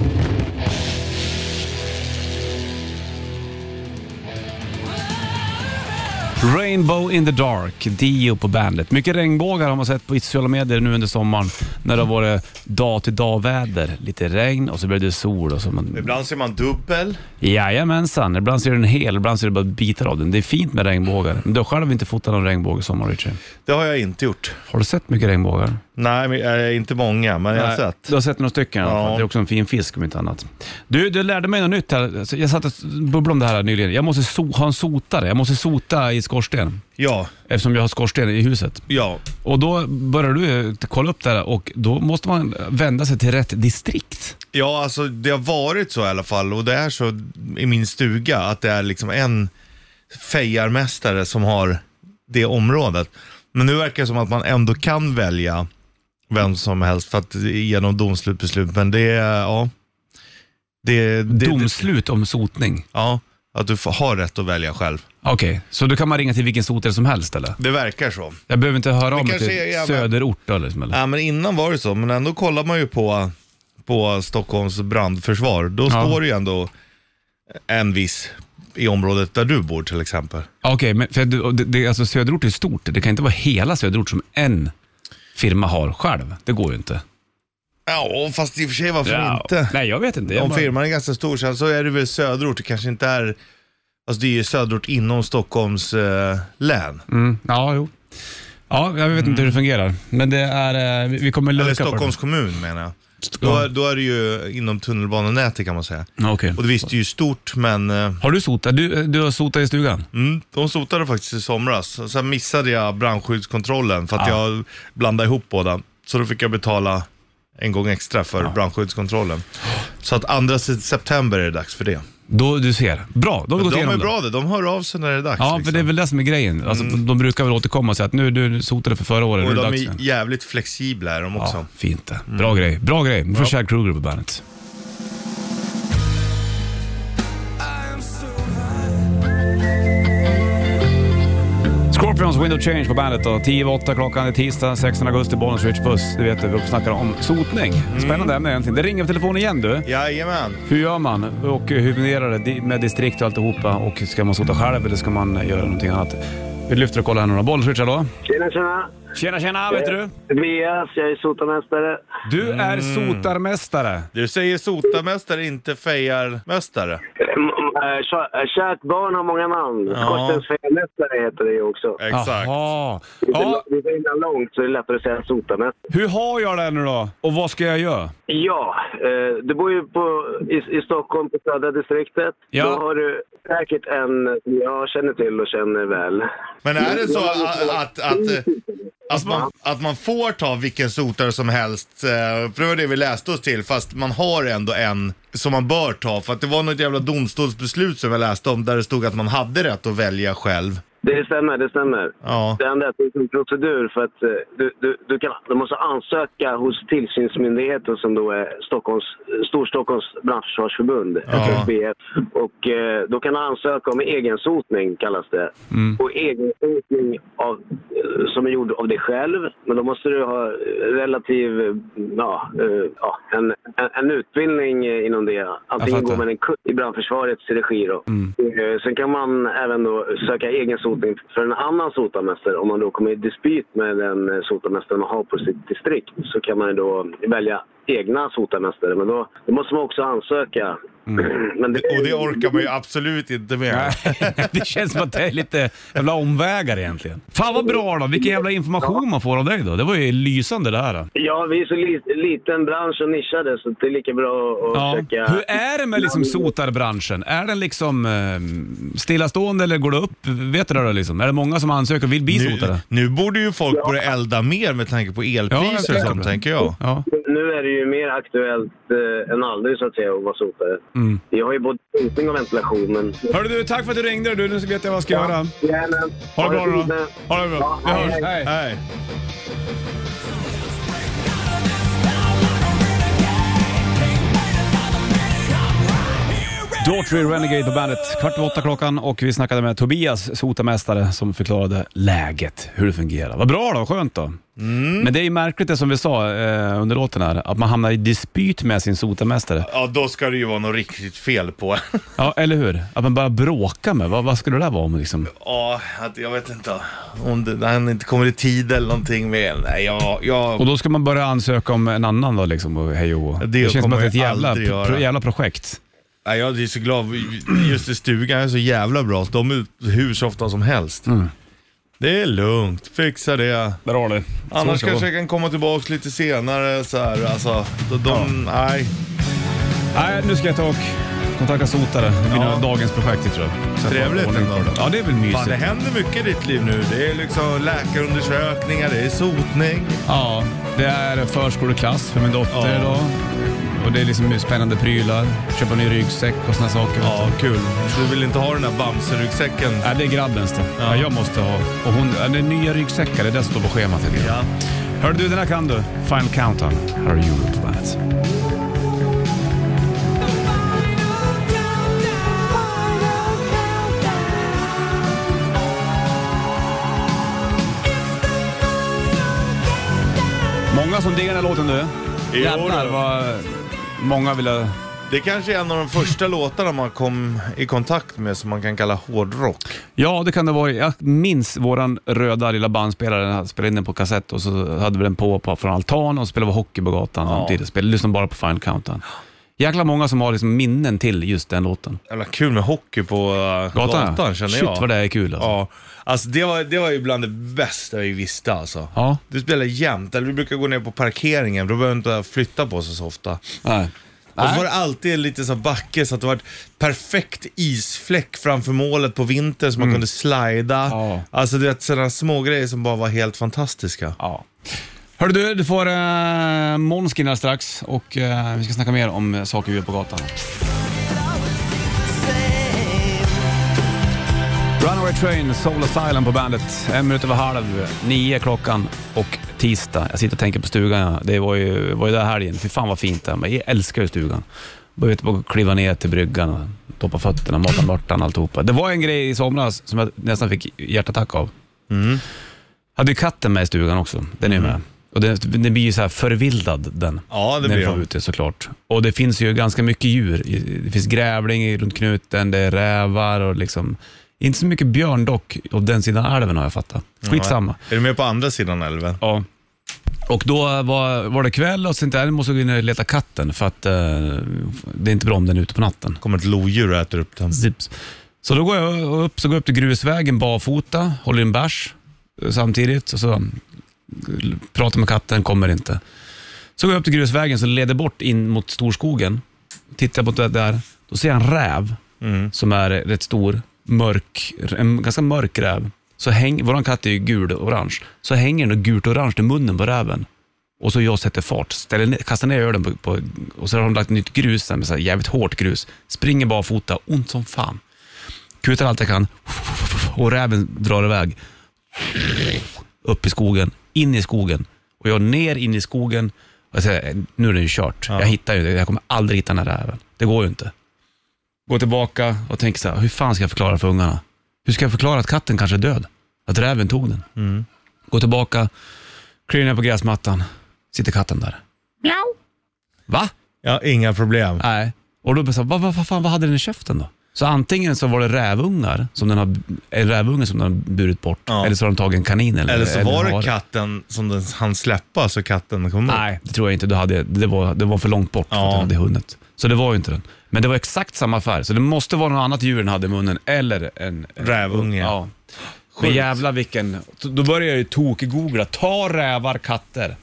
Speaker 2: Rainbow in the Dark, Dio på bandet. Mycket regnbågar har man sett på sociala medier nu under sommaren när det har varit dag till dag väder. Lite regn och så blev det sol och så man
Speaker 3: Ibland ser man dubbel.
Speaker 2: Jajamensan, ibland ser du den hel, ibland ser du bara bitar av den. Det är fint med regnbågar. Men du har själv inte fotat någon regnbåge i sommar, Richard.
Speaker 3: Det har jag inte gjort.
Speaker 2: Har du sett mycket regnbågar?
Speaker 3: Nej, men, eh, inte många, men jag har sett.
Speaker 2: Du har sett några stycken i alla fall.
Speaker 3: Ja.
Speaker 2: Det är också en fin fisk om inte annat. Du, du lärde mig något nytt här. Alltså, Jag satt och bubblade om det här nyligen. Jag måste so- ha en sotare. Jag måste sota i skorsten.
Speaker 3: Ja,
Speaker 2: Eftersom jag har skorsten i huset.
Speaker 3: ja.
Speaker 2: Och då börjar du eh, kolla upp det här och då måste man vända sig till rätt distrikt.
Speaker 3: Ja, alltså det har varit så i alla fall och det är så i min stuga att det är liksom en fejarmästare som har det området. Men nu verkar det som att man ändå kan välja vem som helst för att genom domslutbeslut. Men det är, ja. Det, det,
Speaker 2: Domslut om sotning.
Speaker 3: Ja, att du får, har rätt att välja själv.
Speaker 2: Okej, så då kan man ringa till vilken sotare som helst eller?
Speaker 3: Det verkar så.
Speaker 2: Jag behöver inte höra av mig
Speaker 3: kanske
Speaker 2: till
Speaker 3: är jävla-
Speaker 2: söderort då, liksom, eller?
Speaker 3: Ja, men innan var det så, men ändå kollar man ju på, på Stockholms brandförsvar. Då står det ju ändå en viss i området där du bor till exempel.
Speaker 2: Okej, men för du- det, det, alltså söderort är stort. Det kan inte vara hela söderort som en firma har själv. Det går ju inte.
Speaker 3: Ja, fast i och för sig varför inte?
Speaker 2: Nej, jag vet inte. Jag
Speaker 3: Om
Speaker 2: bara-
Speaker 3: firman är ganska stor sen så är det väl söderort, det kanske inte är, alltså det är ju söderort inom Stockholms eh, län.
Speaker 2: Mm, ja, jo. Ja, jag vet inte hur det fungerar. Men det är, eh, vi- vi kommer
Speaker 3: Eller
Speaker 2: lurka på
Speaker 3: Stockholms
Speaker 2: det.
Speaker 3: kommun menar jag. Då,
Speaker 2: Ja. Mm.
Speaker 3: då är det ju inom tunnelbanenätet kan man säga.
Speaker 2: Ja, Okej.
Speaker 3: Och det visste ju stort, men eh,
Speaker 2: Har du sotat? Du, du har sotat i stugan?
Speaker 3: mm, de sotade faktiskt i somras. Sen missade jag brandskyddskontrollen för att
Speaker 2: Ja.
Speaker 3: jag blandade ihop båda. Så då fick jag betala en gång extra för brandskyddskontrollen. Så att andra se- september är det dags för det.
Speaker 2: Då, du ser. Bra, då har vi gått
Speaker 3: De
Speaker 2: igenom
Speaker 3: är
Speaker 2: det.
Speaker 3: bra det, de hör av sig när det är dags.
Speaker 2: Ja, för
Speaker 3: liksom. Mm.
Speaker 2: det är väl det som är grejen. Alltså, De brukar väl återkomma och säga att nu du sotade för förra året, nu
Speaker 3: Och
Speaker 2: är det
Speaker 3: de
Speaker 2: dags
Speaker 3: är Mm.
Speaker 2: igen.
Speaker 3: jävligt flexibla är de också.
Speaker 2: Ja, fint det. Bra grej. Bra grej. Nu får Chad Kruger på bandet. Scorpions Window Change på bandet då. 10 över 8 klockan, det är tisdag 16 augusti, Bollnäs Rich Buss. Det vet du, vi snackar om sotning.
Speaker 3: Mm.
Speaker 2: Spännande ämne egentligen. Det ringer på telefonen igen du.
Speaker 3: Jajamän.
Speaker 2: Hur gör man och hur fungerar det di- med distrikt och alltihopa och ska man sota själv eller ska man göra någonting annat? Vi lyfter och kollar här några boll. Richard då.
Speaker 7: Tjena, tjena!
Speaker 2: Tjena tjena, vet du?
Speaker 7: Tobias, jag är sotarmästare.
Speaker 2: Du är sotarmästare.
Speaker 3: Du säger sotarmästare, inte fejarmästare.
Speaker 7: Mm, eh, kä- eh, Kärt barn har många namn.
Speaker 3: Ja.
Speaker 7: Skorstens fejarmästare heter det ju också.
Speaker 3: Exakt.
Speaker 2: Jaha.
Speaker 7: Ja.
Speaker 2: Ja,
Speaker 7: Det är innan långt så det är lättare att säga sotarmästare.
Speaker 2: hur har jag det nu då? Och vad ska jag göra?
Speaker 7: Ja, eh, du bor ju på, i, i Stockholm på Södra distriktet.
Speaker 2: Ja.
Speaker 7: Då har du säkert en som jag känner till och känner väl.
Speaker 3: Men är det så att, att, att, eh, att, man, att man får ta vilken sotare som helst? eh, För det var det vi läste oss till, fast man har ändå en som man bör ta. För att det var något jävla domstolsbeslut som jag läste om där det stod att man hade rätt att välja själv.
Speaker 7: Det stämmer, det stämmer.
Speaker 3: Ja.
Speaker 7: Det enda är att det är en procedur för att eh, du, du, du, kan, du måste ansöka hos tillsynsmyndigheten som då är Stockholms, Storstockholms branschförsvarsförbund, FFBF. Och eh, då kan du ansöka om egensotning kallas det. Och egensotning av, eh, som är gjord av dig själv. Men då måste du ha eh, relativ, eh, ja, eh, ja en, en, en utbildning eh, inom det. Antingen
Speaker 2: fattar.
Speaker 7: går man en kurs i brandförsvarets regi då.
Speaker 2: Mm.
Speaker 7: Eh, Sen kan man även då söka egen sotning för en annan sotarmästare. Om man då kommer i dispyt med den eh, sotarmästare man har på sitt distrikt så kan man ju då välja egna sotarmästare. Men då, då måste man också ansöka.
Speaker 2: Mm.
Speaker 7: Men det,
Speaker 3: Och det orkar man ju absolut inte med.
Speaker 2: det känns som att det är lite jävla omvägar egentligen. Fan vad bra då. Vilken jävla information man får av dig då. Det var ju lysande det här. då.
Speaker 7: Ja, vi är så li, liten bransch och nischade så det är lika bra att
Speaker 2: Ja.
Speaker 7: försöka...
Speaker 2: Hur är det med liksom sotarbranschen? Är den liksom eh, stillastående eller går det upp? Vet du det då liksom? Är det många som ansöker och vill bli
Speaker 3: Nu,
Speaker 2: sotare?
Speaker 3: nu borde ju folk börja elda mer med tanke på elpriser och
Speaker 2: tänker
Speaker 3: sånt,
Speaker 2: det.
Speaker 3: tänker jag.
Speaker 2: Ja.
Speaker 7: Nu är det ju mer aktuellt eh, än aldrig så att säga att vara sotare.
Speaker 2: Mm.
Speaker 7: Vi har ju både sotning och ventilation men...
Speaker 2: Hörru du, tack för att du ringde du. Nu vet jag vad jag ska göra.
Speaker 7: Jajamän.
Speaker 2: Ha det bra
Speaker 7: fint
Speaker 2: då.
Speaker 7: nu.
Speaker 2: Ha det bra. Vi
Speaker 7: Ja,
Speaker 2: hörs.
Speaker 7: hej.
Speaker 2: Hej.
Speaker 3: Nej.
Speaker 2: Daughtry Renegade på bandet. Kvart över åtta klockan och vi snackade med Tobias, sotarmästare, som förklarade läget, hur det fungerar. Vad bra då, skönt då. Men det är ju märkligt det som vi sa eh, under låten här, att man hamnar i dispyt med sin sotarmästare.
Speaker 3: Ja, då ska det ju vara något riktigt fel på
Speaker 2: Ja, eller hur? Att man börjar bråka med. Vad, vad skulle det där vara om liksom?
Speaker 3: Ja, att jag vet inte. Om det, han inte kommer i tid eller någonting med Nej, jag... jag
Speaker 2: Och då ska man börja ansöka om en annan då liksom och hej och hå.
Speaker 3: Det
Speaker 2: Det känns som
Speaker 3: kommer
Speaker 2: att det är ett
Speaker 3: jag
Speaker 2: jävla,
Speaker 3: aldrig göra.
Speaker 2: pro, jävla projekt.
Speaker 3: nej, jag är så glad. Just i stugan är så jävla bra. De är ute hur så ofta som helst. Det är lugnt, fixa det.
Speaker 2: Där har du.
Speaker 3: Annars kanske jag kan komma tillbaka lite senare så här. Alltså, de, de, nej.
Speaker 2: Nej, nu ska jag ta och kontakta sotare. Det blir
Speaker 3: Ja.
Speaker 2: nog dagens projekt tror jag. Så jag. får
Speaker 3: Trevligt
Speaker 2: ordning på
Speaker 3: ändå.
Speaker 2: det. Ja, det är väl mysigt.
Speaker 3: Fan, det händer mycket i ditt liv nu. Det är liksom läkarundersökningar, det är sotning.
Speaker 2: Ja, det är förskoleklass för min dotter
Speaker 3: Ja.
Speaker 2: då. Och det är liksom spännande prylar. Köpa ny ryggsäck och såna saker. vet
Speaker 3: Ja, kul. Du vill inte ha den där Bamse-ryggsäcken?
Speaker 2: du. Ja, det är grabbens det. Ja. jag måste ha. Och hon, ja, det är nya ryggsäckar, det är det som står på schemat. tycker jag.
Speaker 3: Ja.
Speaker 2: Hör du, den här kan du. Final Countdown. Här har du Europe på bandet. Många som diggar den här låten du.
Speaker 3: Jo,
Speaker 2: Jävlar
Speaker 3: då.
Speaker 2: vad många ville...
Speaker 3: Det kanske är en av de första låtarna man kom i kontakt med som man kan kalla hårdrock.
Speaker 2: Ja, det kan det vara. Jag minns våran röda lilla bandspelare. Den här spelade in den på kassett och så hade vi den på, på från altan och spelade vi hockey på gatan samtidigt. Spelade, lyssnade bara på Final Countdown. jäkla många som har liksom minnen till just den låten.
Speaker 3: Jävla kul med hockey på eh,
Speaker 2: Gatan,
Speaker 3: gatan, känner
Speaker 2: Shit
Speaker 3: jag.
Speaker 2: vad det är kul alltså.
Speaker 3: Ja, alltså det var, det var ju bland det bästa vi visste alltså.
Speaker 2: Ja.
Speaker 3: Du spelar jämt, eller vi brukar gå ner på parkeringen, då behöver inte flytta på sig så ofta.
Speaker 2: Nej.
Speaker 3: Och så
Speaker 2: Nej.
Speaker 3: var det alltid en liten sån här backe så att det var ett perfekt isfläck framför målet på vintern som man kunde slida.
Speaker 2: Mm. Ja.
Speaker 3: Alltså du vet sådana små grejer som bara var helt fantastiska.
Speaker 2: Ja. Hörru du, du får äh, Måns in här strax och eh, vi ska snacka mer om eh, saker vi gör på gatan. Runaway Train, Soul Asylum på bandet. En minut över halv, nio klockan och tisdag. Jag sitter och tänker på stugan. ja. Det var ju, var ju där helgen. Fy fan vad fint det är. Men Jag älskar ju stugan. Bara ute på att kliva ner till bryggan och doppa fötterna, mata mörtan, alltihopa. Det var en grej i somras som jag nästan fick hjärtattack av.
Speaker 3: Mm.
Speaker 2: Hade ju katten med i stugan också. Den är ju med. Och den, den blir ju så här förvildad den.
Speaker 3: Ja, det
Speaker 2: när den.
Speaker 3: blir
Speaker 2: får
Speaker 3: den.
Speaker 2: ut det såklart. Och det finns ju ganska mycket djur. Det finns grävling i- runt knuten, det är rävar och liksom. Inte så mycket björn dock, av den sidan älven har jag fattat. Skitsamma.
Speaker 3: Är du med på andra sidan älven?
Speaker 2: Ja. Och då var, var det kväll och sen där måste jag gå in och leta katten för att eh, det är inte bra om den är ute på natten.
Speaker 3: kommer ett lodjur och äter upp den.
Speaker 2: Zips. Så då går jag upp, så går jag upp till grusvägen barfota, håller i en bärs eh, samtidigt och så eh, pratar med katten, kommer inte. Så går jag upp till grusvägen som leder bort in mot storskogen. Tittar på det där, då ser jag en räv som är rätt stor, mörk, en ganska mörk räv. Så häng, våran katt är ju gul och orange, så hänger den gult och orange i munnen på räven. Och så jag sätter fart, ställer ner, kastar ner ölen på, på, och så har de lagt nytt grus där med så här jävligt hårt grus. Springer barfota, ont som fan. Kutar allt jag kan och räven drar iväg. Upp i skogen, in i skogen. Och jag ner in i skogen. Och jag säger, nu är det ju kört. Jag hittar ju det. Jag kommer aldrig hitta den här räven. Det går ju inte. Går tillbaka och tänker så här, hur fan ska jag förklara för ungarna? Hur ska jag förklara att katten kanske är död? Att räven tog den? Går tillbaka, kliver ner på gräsmattan. Sitter katten där. Mjau. Va?
Speaker 3: Ja, inga problem.
Speaker 2: Nej. Och då sa vad, vad, vad fan, vad hade den i käften då? Så antingen så var det rävungar som den har, en rävunge som den har burit bort,
Speaker 3: Ja.
Speaker 2: eller så har de tagit en kanin. Eller,
Speaker 3: Eller så var
Speaker 2: har-
Speaker 3: det katten som den hann släppa så katten kom upp.
Speaker 2: Nej, det tror jag inte. Du hade, det, var, det var för långt bort för att
Speaker 3: Ja.
Speaker 2: den hade hunnit. Så det var ju inte den. Men det var exakt samma färg, så det måste vara något annat djur den hade i munnen, eller en... en
Speaker 3: Rävunge.
Speaker 2: Ja. Men jävla vilken... Då börjar jag ju tokgoogla. Ta rävar, katter.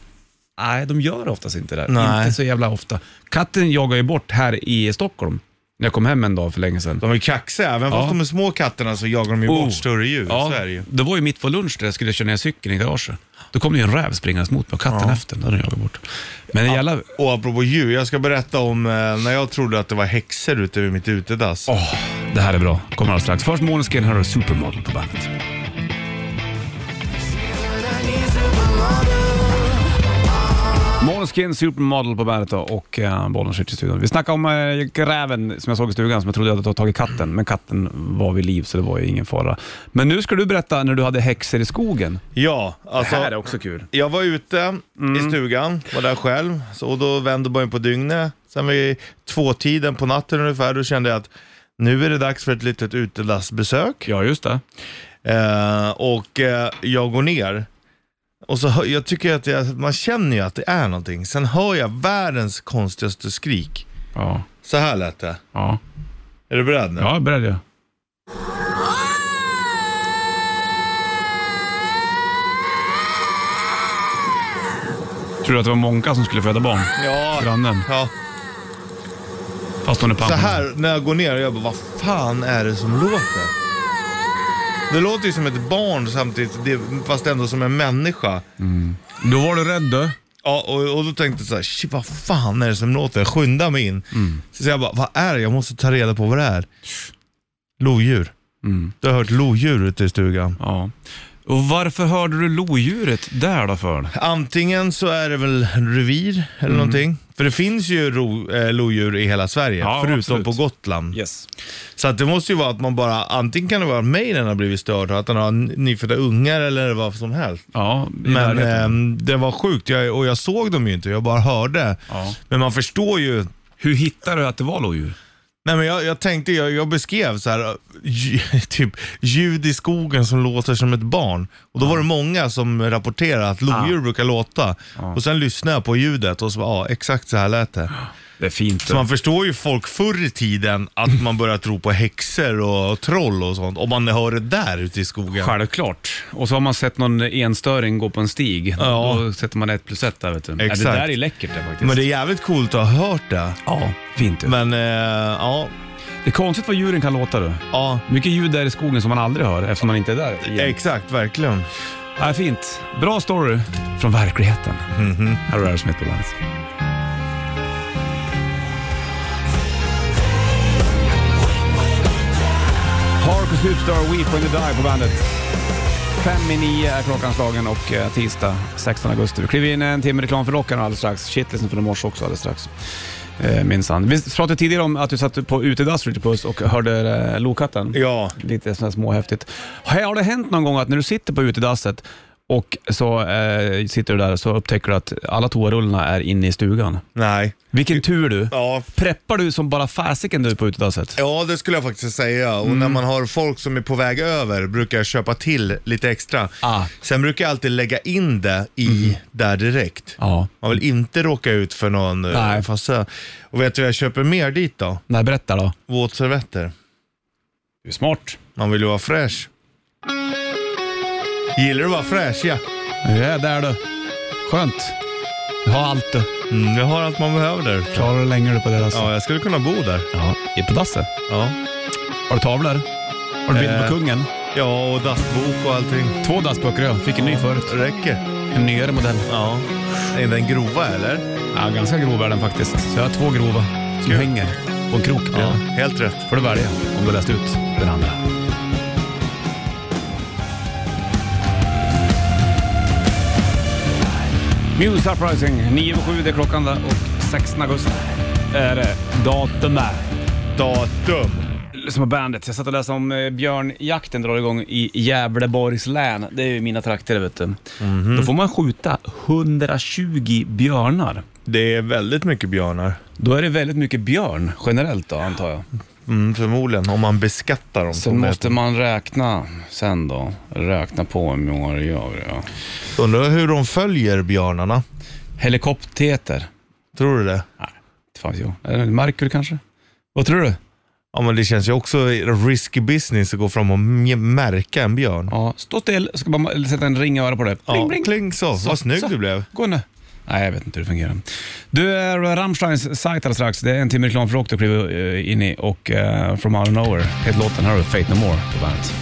Speaker 2: Nej, de gör oftast inte det.
Speaker 3: Nej.
Speaker 2: Inte så jävla ofta. Katten jagar ju bort här i Stockholm, när jag kom hem en dag för länge sedan.
Speaker 3: De är kaxiga, även
Speaker 2: Ja.
Speaker 3: fast de är små katterna så jagar de ju
Speaker 2: Oh.
Speaker 3: bort större djur. Så är det ju.
Speaker 2: det var ju mitt på lunch där jag skulle köra ner cykeln i garaget. Då kom det ju en räv springandes mot mig och katten efter. Då hade den jagat bort. Men en jävla...
Speaker 3: Och apropå djur, jag ska berätta om eh, när jag trodde att det var häxor ute vid mitt utedass.
Speaker 2: Åh, det här är bra. Kommer alldeles strax. Först Måneskin, här har du Supermodel på bandet. Måneskin, Supermodel på bandet då, och eh, bollen skjuts i studion. Vi snackade om eh, gräven som jag såg i stugan som jag trodde hade tagit katten, men katten var vid liv så det var ju ingen fara. Men nu ska du berätta när du hade häxor i skogen.
Speaker 3: Ja, alltså.
Speaker 2: det här är Mm. också kul.
Speaker 3: Jag var ute i stugan, var där själv, så, och då vände man ju på dygnet. Sen vid tvåtiden på natten ungefär, då kände jag att nu är det dags för ett litet utedassbesök.
Speaker 2: Ja, just det.
Speaker 3: Eh, och eh, jag går ner. Och så hör, jag tycker att jag, man känner ju att det är någonting. Sen hör jag världens konstigaste skrik.
Speaker 2: Ja,
Speaker 3: Så här lät det.
Speaker 2: ja.
Speaker 3: Är du beredd nu?
Speaker 2: ja jag är beredd jag. Tror du att det var Monka som skulle föda barn?
Speaker 3: Ja.
Speaker 2: Grannen.
Speaker 3: ja.
Speaker 2: Fast hon är
Speaker 3: Så
Speaker 2: pappa.
Speaker 3: här när jag går ner och jag bara, vad fan är det som låter? Det låter ju som ett barn samtidigt, det, fast ändå som en människa.
Speaker 2: Då var du rädd du.
Speaker 3: Ja, och, och då tänkte jag så här, shit vad fan är det som låter? Jag skyndar mig in.
Speaker 2: Mm.
Speaker 3: Så jag bara, vad är det? Jag måste ta reda på vad det är. Lodjur.
Speaker 2: Mm.
Speaker 3: Du har hört lodjur ute i stugan.
Speaker 2: Ja. Och varför hörde du lodjuret där då för?
Speaker 3: Antingen så är det väl revir eller
Speaker 2: Mm.
Speaker 3: någonting. För det finns ju ro, eh, lodjur i hela Sverige,
Speaker 2: Ja,
Speaker 3: förutom
Speaker 2: absolut.
Speaker 3: på Gotland.
Speaker 2: Yes.
Speaker 3: Så att det måste ju vara att man bara, antingen kan det vara att mejlen har blivit störd, att den har n- nyfödda ungar eller vad som helst.
Speaker 2: Ja, i
Speaker 3: Men
Speaker 2: närheten.
Speaker 3: ehm, det var sjukt jag, och jag såg dem ju inte, jag bara hörde.
Speaker 2: Ja.
Speaker 3: Men man förstår ju.
Speaker 2: Hur hittade du att det var lodjur?
Speaker 3: Nej men jag, jag tänkte, jag, jag beskrev så här, äh, ju- typ ljud i skogen som låter som ett barn. Och då var det många som rapporterade att lodjur brukar låta. Och sen lyssnade jag på ljudet och så bara, ja exakt så här lät det.
Speaker 2: Det är fint.
Speaker 3: Så man förstår ju folk förr i tiden att man börjar tro på häxor och, och troll och sånt. Om man hör det där ute i skogen.
Speaker 2: Självklart. Och så har man sett någon enstöring gå på en stig.
Speaker 3: Ja.
Speaker 2: Då sätter man ett plus ett där vet du. Ja,
Speaker 3: Exakt.
Speaker 2: det där är läckert det faktiskt.
Speaker 3: Men det är jävligt coolt att ha hört det.
Speaker 2: Ja, fint du.
Speaker 3: Men eh, ja,
Speaker 2: Det är konstigt vad djuren kan låta du.
Speaker 3: ja.
Speaker 2: Mycket ljud där i skogen som man aldrig hör eftersom man inte är där. igen.
Speaker 3: Exakt, verkligen.
Speaker 2: Ja, fint. Bra story från verkligheten. Här har du Aerosmith på bandet. Harkus Superstar, Weep When You Die på bandet. Fem i nio är klockan slagen och eh, tisdag 16 augusti. Vi kliver in en timme reklam för Rockarna alldeles strax. Shitlisten från i morse också alldeles strax. Eh, minsann. Vi pratade tidigare om att du satt på utedass Ritchie Puss och hörde eh, Lokatten.
Speaker 3: Ja.
Speaker 2: Lite sådär småhäftigt. Har har det hänt någon gång att när du sitter på utedasset och så eh, sitter du där så upptäcker du att alla toarullarna är inne i stugan?
Speaker 3: Nej.
Speaker 2: Vilken tur du!
Speaker 3: Ja.
Speaker 2: Preppar du som bara fasiken du på utedasset?
Speaker 3: Ja, det skulle jag faktiskt säga. Och
Speaker 2: Mm.
Speaker 3: när man har folk som är på väg över brukar jag köpa till lite extra.
Speaker 2: Ah. Mm.
Speaker 3: Sen brukar jag alltid lägga in det i där direkt.
Speaker 2: Ja.
Speaker 3: Man vill inte råka ut för någon eh,
Speaker 2: Nej.
Speaker 3: fassa. Och vet du vad jag köper mer dit då?
Speaker 2: Nej, berätta då.
Speaker 3: Våtservetter.
Speaker 2: Du är smart.
Speaker 3: Man vill ju vara fräsch. Gillar du att vara fräsch? Ja.
Speaker 2: Nu är jag där du. Skönt. Du har allt du.
Speaker 3: Mm, jag har allt man behöver där.
Speaker 2: Klarar du längre på deras. Ja.
Speaker 3: Ja, jag skulle kunna bo där.
Speaker 2: ja. I på dasset.
Speaker 3: Ja,
Speaker 2: Har du tavlor? Har du bild
Speaker 3: Eh.
Speaker 2: på kungen?
Speaker 3: ja och dassbok och allting.
Speaker 2: Två dassböcker jag. Fick en ny förut.
Speaker 3: Räcker.
Speaker 2: En nyare modell.
Speaker 3: Ja. Är den grova eller?
Speaker 2: Ja, ganska grov är den faktiskt. Så jag har två grova som
Speaker 3: Kul.
Speaker 2: hänger på en krok
Speaker 3: Ja,
Speaker 2: bredvid.
Speaker 3: helt rätt.
Speaker 2: får du välja om du har läst ut den andra. Muse Uprising, 9 och 7 det är klockan där och 16 augusti är det datumet.
Speaker 3: Datum.
Speaker 2: Som är bandet. Jag satt och läste om eh, björnjakten drar igång i Gävleborgs län. Det är ju mina trakter vet du. Då får man skjuta 120 björnar.
Speaker 3: Det är väldigt mycket björnar.
Speaker 2: Då är det väldigt mycket björn generellt då antar jag.
Speaker 3: Mm, förmodligen, om man beskattar dem.
Speaker 2: Sen måste man räkna sen då. Räkna på hur många det gör. Ja.
Speaker 3: Undrar hur de följer björnarna.
Speaker 2: Helikopteter.
Speaker 3: Tror du det?
Speaker 2: Det fanns ju. Är det Merkur kanske? Vad tror du?
Speaker 3: Ja, men det känns ju också risky business att gå fram och m- märka en björn.
Speaker 2: Ja, stå still. Ska bara eller sätta en ring i örat på det. Bling,
Speaker 3: Ja,
Speaker 2: bling.
Speaker 3: kling så. Vad snygg
Speaker 2: så.
Speaker 3: du blev.
Speaker 2: Gå nu. Nej, jag vet inte hur det fungerar. Du, är Rammsteins sajt alldeles strax. Det är en timme reklam för rock du kliver eh, in i och eh, From Out of Nowhere heter låten. Här har du Fate No More på bandet.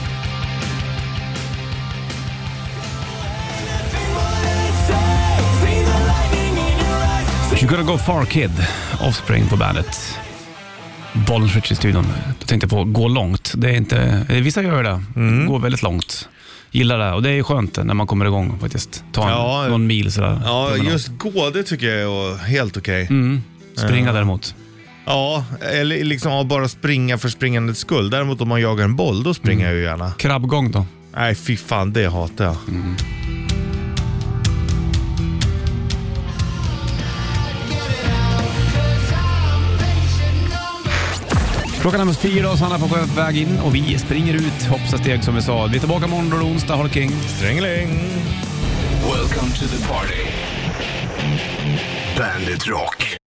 Speaker 2: You gotta go far kid, Offspring på bandet. Bollens Rich i studion. Då tänkte jag på gå långt. Det är inte, eh, vissa gör ju det, går väldigt långt. Gillar det och det är ju skönt när man kommer igång faktiskt. Ta en,
Speaker 3: Ja.
Speaker 2: någon mil sådär.
Speaker 3: Ja,
Speaker 2: Promenad.
Speaker 3: just gå, det tycker jag är helt okej.
Speaker 2: Mm. Springa däremot.
Speaker 3: Ja, eller liksom ja, bara springa för springandets skull. Däremot om man jagar en boll, då springer
Speaker 2: Mm.
Speaker 3: jag ju gärna.
Speaker 2: Krabbgång då.
Speaker 3: Nej, fy fan, det hatar jag.
Speaker 2: Mm. Klockan är närmast fyra och Sanna på skönt väg in och vi springer ut hoppsa steg som vi sa. Vi är tillbaka imorgon då är det onsdag. Ha det king.
Speaker 3: Strängeling!
Speaker 1: Welcome to the party. Bandit Rock.